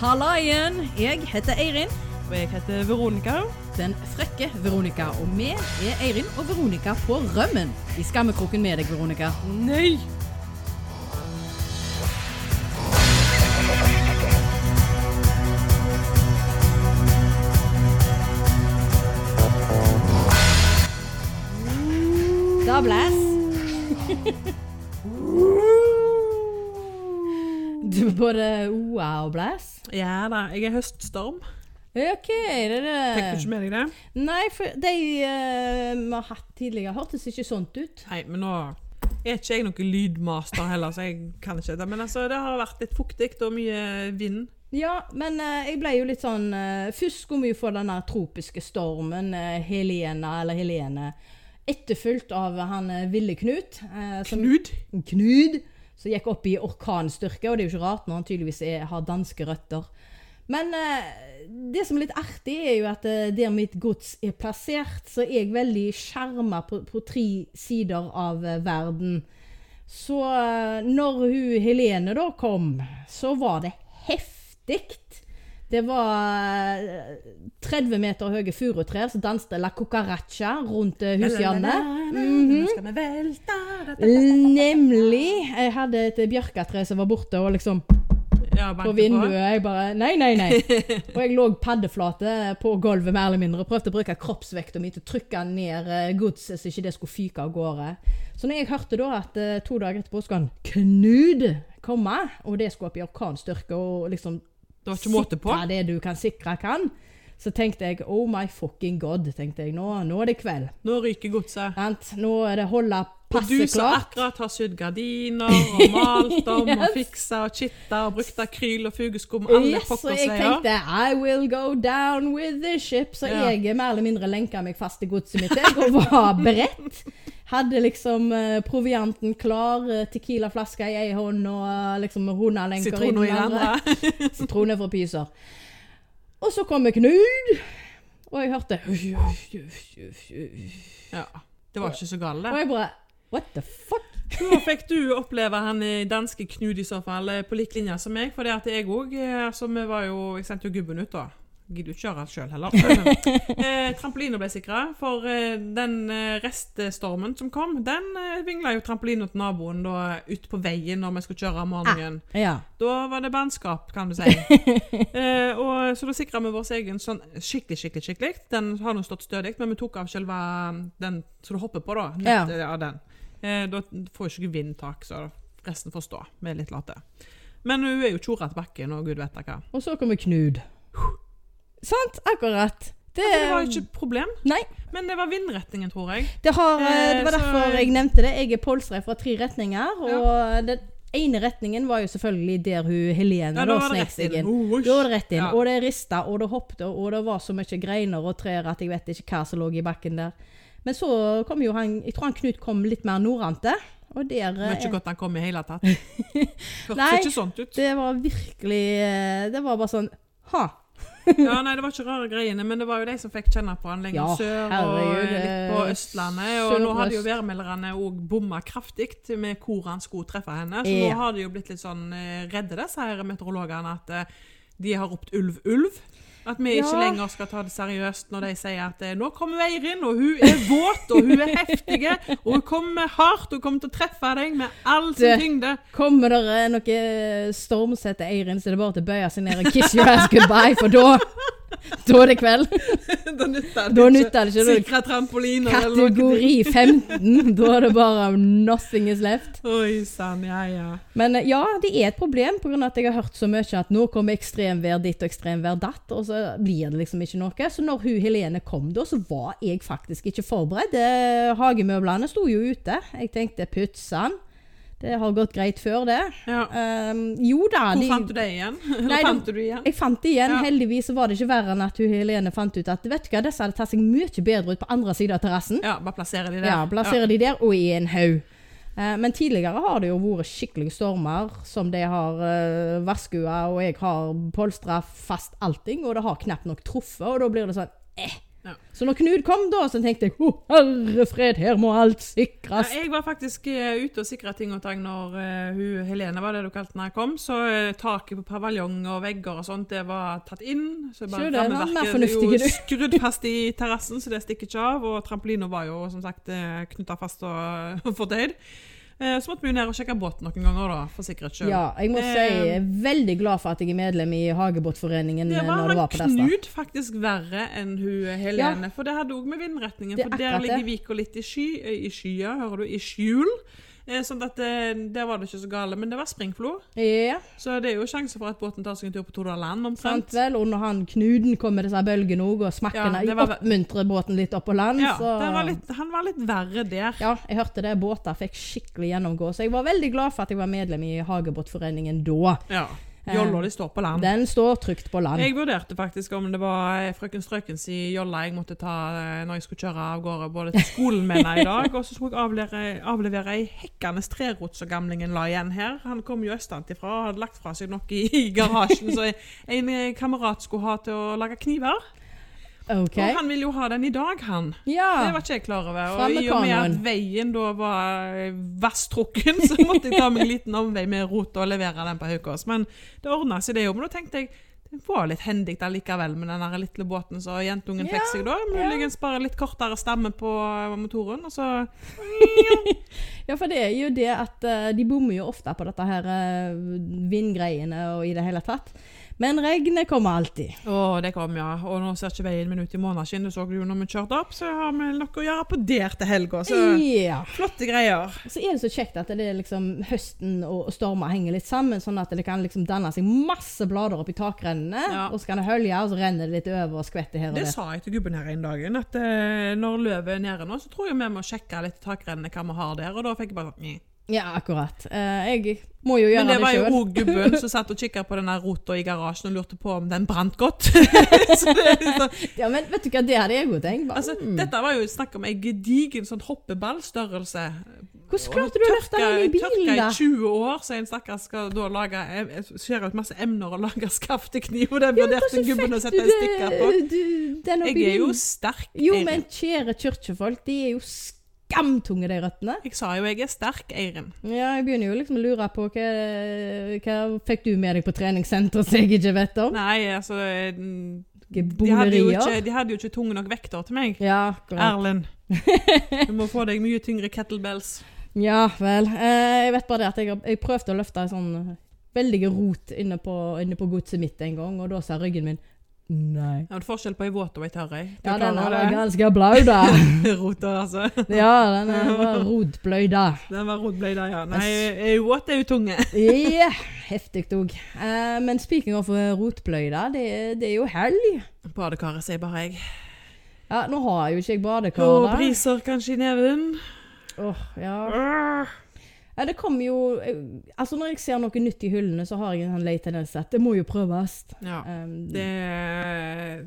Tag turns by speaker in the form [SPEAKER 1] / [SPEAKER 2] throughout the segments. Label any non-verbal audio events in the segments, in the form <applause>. [SPEAKER 1] Halla igjen! Jeg heter Eirin,
[SPEAKER 2] Og jeg heter Veronica.
[SPEAKER 1] den frekke Veronica. Og vi er Eirin og Veronica på rømmen. I skammekroken med deg, Veronica.
[SPEAKER 2] Nei!
[SPEAKER 1] Da blæs. Du både oa og blæs?
[SPEAKER 2] Ja da, jeg er høststorm.
[SPEAKER 1] OK, det er
[SPEAKER 2] Fikk du ikke
[SPEAKER 1] det.
[SPEAKER 2] med deg det?
[SPEAKER 1] Nei, for de eh, vi har hatt tidligere, hørtes ikke sånt ut.
[SPEAKER 2] Nei, men nå er ikke jeg noen lydmaster heller, så jeg kan ikke dette. Men altså, det har vært litt fuktig og mye vind.
[SPEAKER 1] Ja, men eh, jeg ble jo litt sånn eh, Først skulle vi jo få den der tropiske stormen, eh, Helena eller Helene, etterfulgt av han eh, Ville Knut. eh, som-
[SPEAKER 2] Knud.
[SPEAKER 1] Knud, som gikk opp i orkanstyrke, og det er jo ikke rart når han tydeligvis er, har danske røtter. Men eh, det som er litt artig, er jo at eh, der mitt gods er plassert, så er jeg veldig skjerma på, på tre sider av eh, verden. Så eh, når hun Helene da kom, så var det heftig. Det var eh, 30 meter høye furutrær som danset la cucaracha rundt eh, Mhm. hushjørnet.
[SPEAKER 2] Nå skal vi velte dette.
[SPEAKER 1] Nemlig. Jeg hadde et bjørketre som var borte, og liksom
[SPEAKER 2] Ja,
[SPEAKER 1] på
[SPEAKER 2] banker
[SPEAKER 1] vinduet Jeg bare Nei, nei, nei. Og jeg lå paddeflate på gulvet mer eller mindre og prøvde å bruke kroppsvekta mi til å trykke ned eh, godset så ikke det skulle fyke av gårde. Så når jeg hørte da at eh, to dager etterpå skal han Knud komme, og det skulle opp i orkanstyrke og liksom
[SPEAKER 2] Det var ikke måte på.
[SPEAKER 1] sikre det du kan sikre kan, så tenkte jeg oh my fucking god, tenkte jeg. Nå, nå er det kveld.
[SPEAKER 2] Nå ryker godset.
[SPEAKER 1] Sant? Nå er det holde
[SPEAKER 2] Og du
[SPEAKER 1] passe
[SPEAKER 2] som
[SPEAKER 1] klart.
[SPEAKER 2] akkurat har sydd gardiner og malt om og
[SPEAKER 1] Yes.
[SPEAKER 2] fiksa og kitta og brukt akryl og fugeskum, alle
[SPEAKER 1] yes, og jeg
[SPEAKER 2] pokkersveier.
[SPEAKER 1] tenkte I will go down with the ship. Så
[SPEAKER 2] Ja.
[SPEAKER 1] jeg mer eller mindre lenka meg fast til godset mitt jeg, og var beredt. Hadde liksom eh, provianten klar, eh, tequilaflaska i ei hånd og eh, liksom hundelenker i
[SPEAKER 2] Sitroner i
[SPEAKER 1] den
[SPEAKER 2] den
[SPEAKER 1] andre. <laughs>
[SPEAKER 2] andre.
[SPEAKER 1] Sitroner fra pyser. Og så kommer Knud, og jeg hørte Og
[SPEAKER 2] <laughs> Ja. Det var ikke så galt, det.
[SPEAKER 1] jeg bare What the fuck?
[SPEAKER 2] Hva fikk du oppleve han i danske Knud i så fall, eh, på lik linje som meg? For det at jeg òg altså, Vi var jo Jeg sendte jo gubben ut, da. Gidder jo ikke gjøre alt sjøl heller. eh, trampolina ble sikra, for eh, den eh, reststormen som kom, den eh, vingla jo trampolina til naboen da ut på veien når vi skulle kjøre om morgenen.
[SPEAKER 1] Ja.
[SPEAKER 2] Da var det bandskap,
[SPEAKER 1] <laughs>
[SPEAKER 2] kan du si. eh, og, så da sikra vi vår egen sånn skikkelig, skikkelig, skikkelig. Den har nå stått stødig, men vi tok av selve um, den som du hopper på, da.
[SPEAKER 1] Ja.
[SPEAKER 2] Nettet av den. Eh, da får jo ikke du vindtak, så resten får stå. Vi er litt late. Men hun er jo tjora til bakken, og gud vet da hva.
[SPEAKER 1] Og så kommer Knud. Sant? Akkurat. Det,
[SPEAKER 2] Det var jo ikke et problem,
[SPEAKER 1] Nei.
[SPEAKER 2] men det var vindretningen, tror jeg.
[SPEAKER 1] Det, har,
[SPEAKER 2] Eh,
[SPEAKER 1] det var
[SPEAKER 2] så-
[SPEAKER 1] derfor jeg nevnte det. Jeg er polstrer fra tre retninger. Og den ene retningen var jo selvfølgelig der hun Helene da snek seg inn.
[SPEAKER 2] Oh,
[SPEAKER 1] Da var det rett inn.
[SPEAKER 2] Ja.
[SPEAKER 1] Og det rista, og det hoppet, og det var så mye greiner og trær at jeg vet ikke hva som lå i bakken der. Men så kom jo han Jeg tror han Knut kom litt mer nordante. Og der
[SPEAKER 2] Men
[SPEAKER 1] eh,
[SPEAKER 2] ikke godt han kom i hele
[SPEAKER 1] <laughs>
[SPEAKER 2] tatt. Hørtes
[SPEAKER 1] Nei.
[SPEAKER 2] ikke sånn ut.
[SPEAKER 1] Det var virkelig eh, Det var bare sånn Ha!
[SPEAKER 2] Ja, nei, Det var ikke rare greiene, men det var jo de som fikk kjenne på han lenger
[SPEAKER 1] Ja,
[SPEAKER 2] sør og
[SPEAKER 1] herregud,
[SPEAKER 2] litt på
[SPEAKER 1] eh,
[SPEAKER 2] Østlandet. Og nå hadde jo
[SPEAKER 1] sørøst.
[SPEAKER 2] værmelderne òg bomma kraftig med hvor han skulle treffe henne. Så
[SPEAKER 1] Ja.
[SPEAKER 2] nå har de jo blitt litt sånn eh, redde, disse her meteorologene, at eh, de har ropt ulv, ulv. At vi ikke
[SPEAKER 1] Ja.
[SPEAKER 2] lenger skal ta det seriøst når de sier at eh, 'nå kommer Eirin, og hun er våt, og hun er heftig, og hun kommer hardt, og hun kommer til å treffe deg med all sin
[SPEAKER 1] Det-
[SPEAKER 2] tyngde'. <laughs>
[SPEAKER 1] Kommer det noe stormsette Eirin, så er det bare til å bøye seg ned og kiss your ass goodbye, for da <laughs> Da er det kveld.
[SPEAKER 2] da nytter
[SPEAKER 1] Da nytter det ikke.
[SPEAKER 2] Sikre trampoliner eller noe.
[SPEAKER 1] Kategori 15. Da er det bare nothing is left.
[SPEAKER 2] Oi sann, ja ja.
[SPEAKER 1] Men eh, ja, det er et problem pga. at jeg har hørt så mye at nå kommer ekstremvær ditt og ekstremvær datt, og så blir det liksom ikke noe. Så når hun Helene kom da, så var jeg faktisk ikke forberedt. Eh, Hagemøblene sto jo ute. Jeg tenkte putsan. Det har gått greit før, det.
[SPEAKER 2] ja.
[SPEAKER 1] Ehm, jo da.
[SPEAKER 2] Hvor
[SPEAKER 1] de-
[SPEAKER 2] fant du det igjen? <laughs>
[SPEAKER 1] Nei,
[SPEAKER 2] Hvor
[SPEAKER 1] det-
[SPEAKER 2] fant du det igjen?
[SPEAKER 1] Jeg fant det igjen.
[SPEAKER 2] Ja.
[SPEAKER 1] Heldigvis så var det ikke verre enn at hun Helene fant ut at vet du hva, disse hadde tatt seg mye bedre ut på andre siden av terrassen.
[SPEAKER 2] Ja, bare plassere de der.
[SPEAKER 1] Ja, plasserer de der og i en haug. Eh, Men tidligere har det jo vært skikkelige stormer som de har eh, vaskua, og jeg har polstra fast allting, og det har knapt nok truffet, og da blir det sånn eh,
[SPEAKER 2] Ja.
[SPEAKER 1] Så når Knud kom, da, så tenkte jeg Å, herre fred, her må alt sikres.
[SPEAKER 2] Ja, jeg var faktisk eh, ute og sikra ting og tang når eh, hun, Helene var det du kalte når jeg kom. Så eh, taket på paviljong og vegger og sånt, det var tatt inn. Så
[SPEAKER 1] Så
[SPEAKER 2] bare
[SPEAKER 1] det var mer
[SPEAKER 2] rammeverket
[SPEAKER 1] fornuftig,
[SPEAKER 2] jo
[SPEAKER 1] du.
[SPEAKER 2] skrudd fast i terrassen, så det stikker ikke av. Og trampolina var jo som sagt knytta fast og <laughs> og fordøyd. Eh, Så måtte vi jo ned og sjekke båten noen ganger, da, for sikkerhets skyld.
[SPEAKER 1] Ja, jeg må si jeg er veldig glad for at jeg er medlem i Hagebåtforeningen
[SPEAKER 2] Eh, Det
[SPEAKER 1] eh, når
[SPEAKER 2] var
[SPEAKER 1] det
[SPEAKER 2] han
[SPEAKER 1] var på Desta.
[SPEAKER 2] Knut faktisk verre enn hun eh, Helene. For det hadde òg med vindretningen.
[SPEAKER 1] Det er
[SPEAKER 2] For der
[SPEAKER 1] akkurat
[SPEAKER 2] ligger
[SPEAKER 1] det.
[SPEAKER 2] Vika litt i sky, eh, i skya, hører du, i skjul. Eh, Sånn at det, der var det ikke så gale. Men det var springflo,
[SPEAKER 1] Ja,
[SPEAKER 2] så det er jo sjanse for at båten tar seg en tur på Tordaland
[SPEAKER 1] sant
[SPEAKER 2] omtrent.
[SPEAKER 1] vel. Og når han Knuden kom med disse bølgene òg, og
[SPEAKER 2] Ja,
[SPEAKER 1] smakkene
[SPEAKER 2] det var-
[SPEAKER 1] oppmuntrer båten litt opp på land,
[SPEAKER 2] Ja,
[SPEAKER 1] så
[SPEAKER 2] den var litt, han var litt verre der.
[SPEAKER 1] Ja, jeg hørte det. Båter fikk skikkelig gjennomgå. Så jeg var veldig glad for at jeg var medlem i Hagebåtforeningen da.
[SPEAKER 2] Ja.
[SPEAKER 1] Eh,
[SPEAKER 2] Jolla de står på land.
[SPEAKER 1] Den står trygt på land.
[SPEAKER 2] Jeg vurderte faktisk om det var eh, frøken Strøkens i jolla jeg måtte ta eh, når jeg skulle kjøre av gårde både til skolen med henne i dag, og så skulle jeg avlevere, avlevere ei hekkende trerot som gamlingen la igjen her. Han kom jo østenfra og hadde lagt fra seg noe i, i garasjen så en eh, kamerat skulle ha til å lage kniver.
[SPEAKER 1] OK.
[SPEAKER 2] Og han vil jo ha den i dag, han. Det
[SPEAKER 1] Ja.
[SPEAKER 2] var ikke jeg klar over.
[SPEAKER 1] Fram
[SPEAKER 2] Og
[SPEAKER 1] med
[SPEAKER 2] i og med at
[SPEAKER 1] kanoen.
[SPEAKER 2] veien da var eh, vasstrukken, <laughs> så måtte jeg ta meg en liten omvei med rot og levere den på Haukås. Men det ordna seg, det jo. Men da tenkte jeg det var litt hendig allikevel med den der lille båten som jentungen fikk seg da. Muligens bare litt kortere stamme på eh, motoren. Og så
[SPEAKER 1] ja, for det er jo det at eh, de bommer jo ofte på dette her eh, vindgreiene og i det hele tatt. Men regnet kommer alltid.
[SPEAKER 2] Å, det kom, ja. Og nå ser ikke veien min ut i måneskinn. Du så det jo når vi kjørte opp, så har vi noe å gjøre på der til helga. Så
[SPEAKER 1] Ja.
[SPEAKER 2] flotte greier.
[SPEAKER 1] Så er det så kjekt at det er liksom høsten og stormer henger litt sammen, sånn at det kan liksom danne seg masse blader oppi takrennene.
[SPEAKER 2] Ja.
[SPEAKER 1] Og så kan det hølje, og så renner det litt over og skvetter her og
[SPEAKER 2] Det
[SPEAKER 1] der.
[SPEAKER 2] sa jeg til gubben her en dagen, at eh, når løvet er nede nå, så tror jeg vi må sjekke litt i takrennene hva vi har der, og da fikk jeg bare sånn «Nj».
[SPEAKER 1] Ja, akkurat. Eh, jeg må jo gjøre
[SPEAKER 2] Men det
[SPEAKER 1] det,
[SPEAKER 2] var jo
[SPEAKER 1] sjøl.
[SPEAKER 2] òg gubben som satt og kikket på den der rota i garasjen og lurte på om den brant godt. <laughs> så det, er sånn-
[SPEAKER 1] Ja, men vet du hva, det hadde jeg jo tenkt. Bare,
[SPEAKER 2] altså, dette var jo snakk om ei gedigen sånn hoppeballstørrelse. Altså,
[SPEAKER 1] Hvordan klarte du å løfte den inn i bilen,
[SPEAKER 2] Tørka
[SPEAKER 1] da?
[SPEAKER 2] i 20 år, så en stakkars skal da lage eh, Skjære ut masse emner og lage skaftekniv, og det vurderte
[SPEAKER 1] Hvordan
[SPEAKER 2] gubben å
[SPEAKER 1] fikk
[SPEAKER 2] sette
[SPEAKER 1] du
[SPEAKER 2] en stikker på.
[SPEAKER 1] det- du- den oppi
[SPEAKER 2] Jeg er jo
[SPEAKER 1] bilen?
[SPEAKER 2] sterk.
[SPEAKER 1] Jo,
[SPEAKER 2] Eirin.
[SPEAKER 1] men kjære kirkefolk, de er jo skamtunge, de røttene.
[SPEAKER 2] Jeg sa jo jeg er sterk, Eirin.
[SPEAKER 1] Ja, jeg begynner jo liksom å lure på hva, hva fikk du med deg på treningssenteret som jeg ikke vet om?
[SPEAKER 2] Nei, altså eh,
[SPEAKER 1] Ikke
[SPEAKER 2] de hadde, jo
[SPEAKER 1] Bonerier?
[SPEAKER 2] ikke, de hadde jo ikke tung nok vekter til meg.
[SPEAKER 1] Ja, akkurat. <laughs>
[SPEAKER 2] Erlend. Du må få deg mye tyngre kettlebells.
[SPEAKER 1] Ja vel. Eh, jeg vet bare det at jeg, har- jeg prøvde å løfte en sånn veldig rot inne på, inne på godset mitt en gang, og da sa ryggen min Nei.
[SPEAKER 2] Ja, men forskjell på ei våt og ei tørr ei. Du
[SPEAKER 1] Ja, den
[SPEAKER 2] klarer
[SPEAKER 1] er ganske blau, da.
[SPEAKER 2] det. <laughs> Rota, altså.
[SPEAKER 1] Ja, den er bare rotbløy, da.
[SPEAKER 2] Den var rotbløyda, ja. Nei, ei våt er jo tunge.
[SPEAKER 1] Ja, heftig òg. Eh, men speaking of eh, rotbløy, da. Det, er- det er jo helg.
[SPEAKER 2] Badekaret, sier bare jeg.
[SPEAKER 1] Ja, nå har jeg jo ikke jeg badekar,
[SPEAKER 2] Og
[SPEAKER 1] da.
[SPEAKER 2] briser kanskje i neven.
[SPEAKER 1] Åh, ja.
[SPEAKER 2] Åh.
[SPEAKER 1] ja, det kommer jo eh, Altså, når jeg ser noe nytt i hyllene, så har jeg en sånn lei tendens til at det må jo prøves.
[SPEAKER 2] Ja.
[SPEAKER 1] Um,
[SPEAKER 2] Det eh,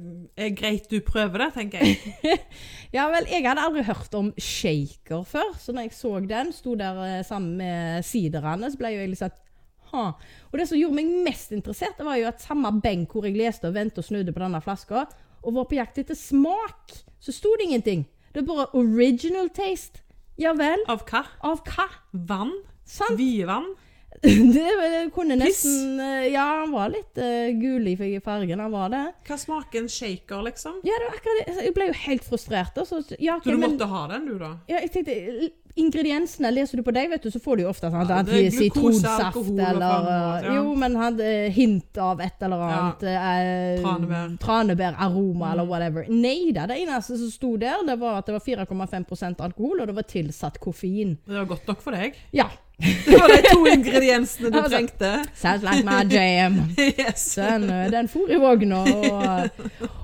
[SPEAKER 2] er greit du prøver det, tenker jeg.
[SPEAKER 1] Ja vel, jeg hadde aldri hørt om shaker før, så når jeg så den, sto der eh, sammen med siderne, så ble jo jeg litt sånn ha. Og det som gjorde meg mest interessert, det var jo at samme benk hvor jeg leste og ventet og snudde på denne flaska, og var på jakt etter smak, så sto det ingenting. Det er bare original taste. Ja vel,
[SPEAKER 2] Av hva?
[SPEAKER 1] av hva?
[SPEAKER 2] Vann?
[SPEAKER 1] Sant? <laughs>
[SPEAKER 2] Vievann?
[SPEAKER 1] Det eh, kunne
[SPEAKER 2] Piss.
[SPEAKER 1] nesten eh, Ja, han var litt eh, gul i fargen, han var det.
[SPEAKER 2] Hva smaker en shaker, liksom?
[SPEAKER 1] Ja, det var akkurat det. Jeg ble jo helt frustrert. Altså. Ja, ok,
[SPEAKER 2] Så du
[SPEAKER 1] men-
[SPEAKER 2] måtte ha den, du, da?
[SPEAKER 1] Ja, jeg tenkte, l- Ingrediensene leser du på deg, vet du, så får du jo ofte sånn,
[SPEAKER 2] Ja,
[SPEAKER 1] at
[SPEAKER 2] det er
[SPEAKER 1] det er sitronsaft
[SPEAKER 2] glukose, alkohol og
[SPEAKER 1] eller eh,
[SPEAKER 2] faen, ja.
[SPEAKER 1] Jo, men hadde eh, hint av et eller annet. eh,
[SPEAKER 2] Tranebær. Mm.
[SPEAKER 1] Tranebæraroma eller whatever. Nei da. Det eneste som sto der, det var at det var 4,5 alkohol, og det var tilsatt koffein.
[SPEAKER 2] Det var godt nok for deg.
[SPEAKER 1] Ja.
[SPEAKER 2] Det var de to ingrediensene du
[SPEAKER 1] Altså-
[SPEAKER 2] trengte.
[SPEAKER 1] Sounds like my jam.
[SPEAKER 2] Yes.
[SPEAKER 1] Så den, eh, den for i vogna. Og,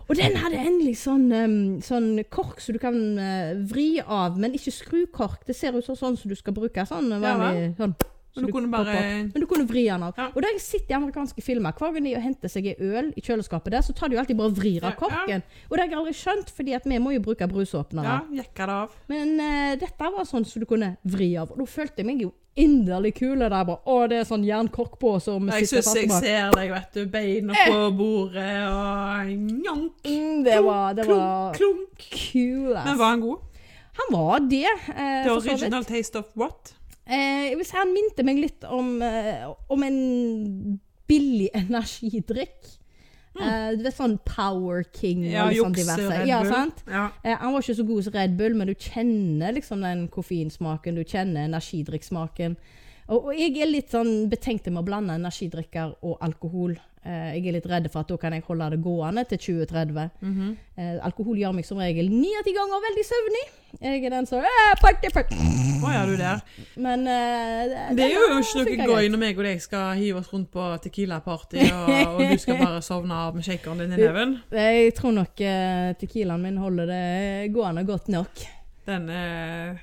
[SPEAKER 1] og den hadde endelig sånn, em, sånn kork som du kan eh, vri av, men ikke skrukork. Det ser ut som sånn som du skal bruke. Sånn, vanlig, sånn, så
[SPEAKER 2] Men du kunne
[SPEAKER 1] popper
[SPEAKER 2] bare
[SPEAKER 1] opp. Men du kunne vri den av.
[SPEAKER 2] Ja.
[SPEAKER 1] Og da jeg sitter i amerikanske filmer, hver gang de henter seg en øl i kjøleskapet der, så tar de jo alltid bare og vrir av
[SPEAKER 2] Ja, ja.
[SPEAKER 1] korken. Og det har jeg aldri skjønt, fordi at vi må jo bruke brusåpnere.
[SPEAKER 2] ja, jekka det av.
[SPEAKER 1] Men eh, dette var sånn som du kunne vri av. Og da følte jeg meg jo inderlig kul. Og det er bare, å, det er sånn jernkork på som
[SPEAKER 2] Jeg
[SPEAKER 1] sitter
[SPEAKER 2] syns
[SPEAKER 1] fast
[SPEAKER 2] jeg
[SPEAKER 1] bak. Eh!
[SPEAKER 2] ser deg, vet du. Beina på bordet og njank.
[SPEAKER 1] Mm, det var, det var
[SPEAKER 2] Klunk.
[SPEAKER 1] kul,
[SPEAKER 2] Men
[SPEAKER 1] ass.
[SPEAKER 2] var han god?
[SPEAKER 1] Han var det. Eh,
[SPEAKER 2] The
[SPEAKER 1] for så vidt.
[SPEAKER 2] original taste of what?
[SPEAKER 1] Eh, jeg vil si han minte meg litt om, eh, om en billig <laughs> energidrikk. Eh, du vet sånn Power King og
[SPEAKER 2] Mm. Ja,
[SPEAKER 1] litt sånn diverse.
[SPEAKER 2] jukse Red Bull.
[SPEAKER 1] Ja, sant?
[SPEAKER 2] Ja.
[SPEAKER 1] Eh, han var ikke så god som Red Bull, men du kjenner liksom den koffeinsmaken. Du kjenner energidrikksmaken. Og, og jeg er litt sånn betenkt med å blande energidrikker og alkohol. Eh, jeg er litt redd for at da kan jeg holde det gående til 2030.
[SPEAKER 2] Mhm.
[SPEAKER 1] eh, alkohol gjør meg som regel ni av ti ganger veldig søvnig. Jeg er den som eh, party, party.
[SPEAKER 2] Å, ja, du der.
[SPEAKER 1] Men eh,
[SPEAKER 2] Det er jo
[SPEAKER 1] funker
[SPEAKER 2] ikke noe
[SPEAKER 1] greit.
[SPEAKER 2] gøy når meg og deg skal hive oss rundt på
[SPEAKER 1] <laughs>
[SPEAKER 2] Tequila-party, og, og du skal bare sovne av med shakeren din i neven.
[SPEAKER 1] Jeg tror nok eh, tequilaen min holder det gående godt
[SPEAKER 2] <laughs>
[SPEAKER 1] nok.
[SPEAKER 2] Den eh,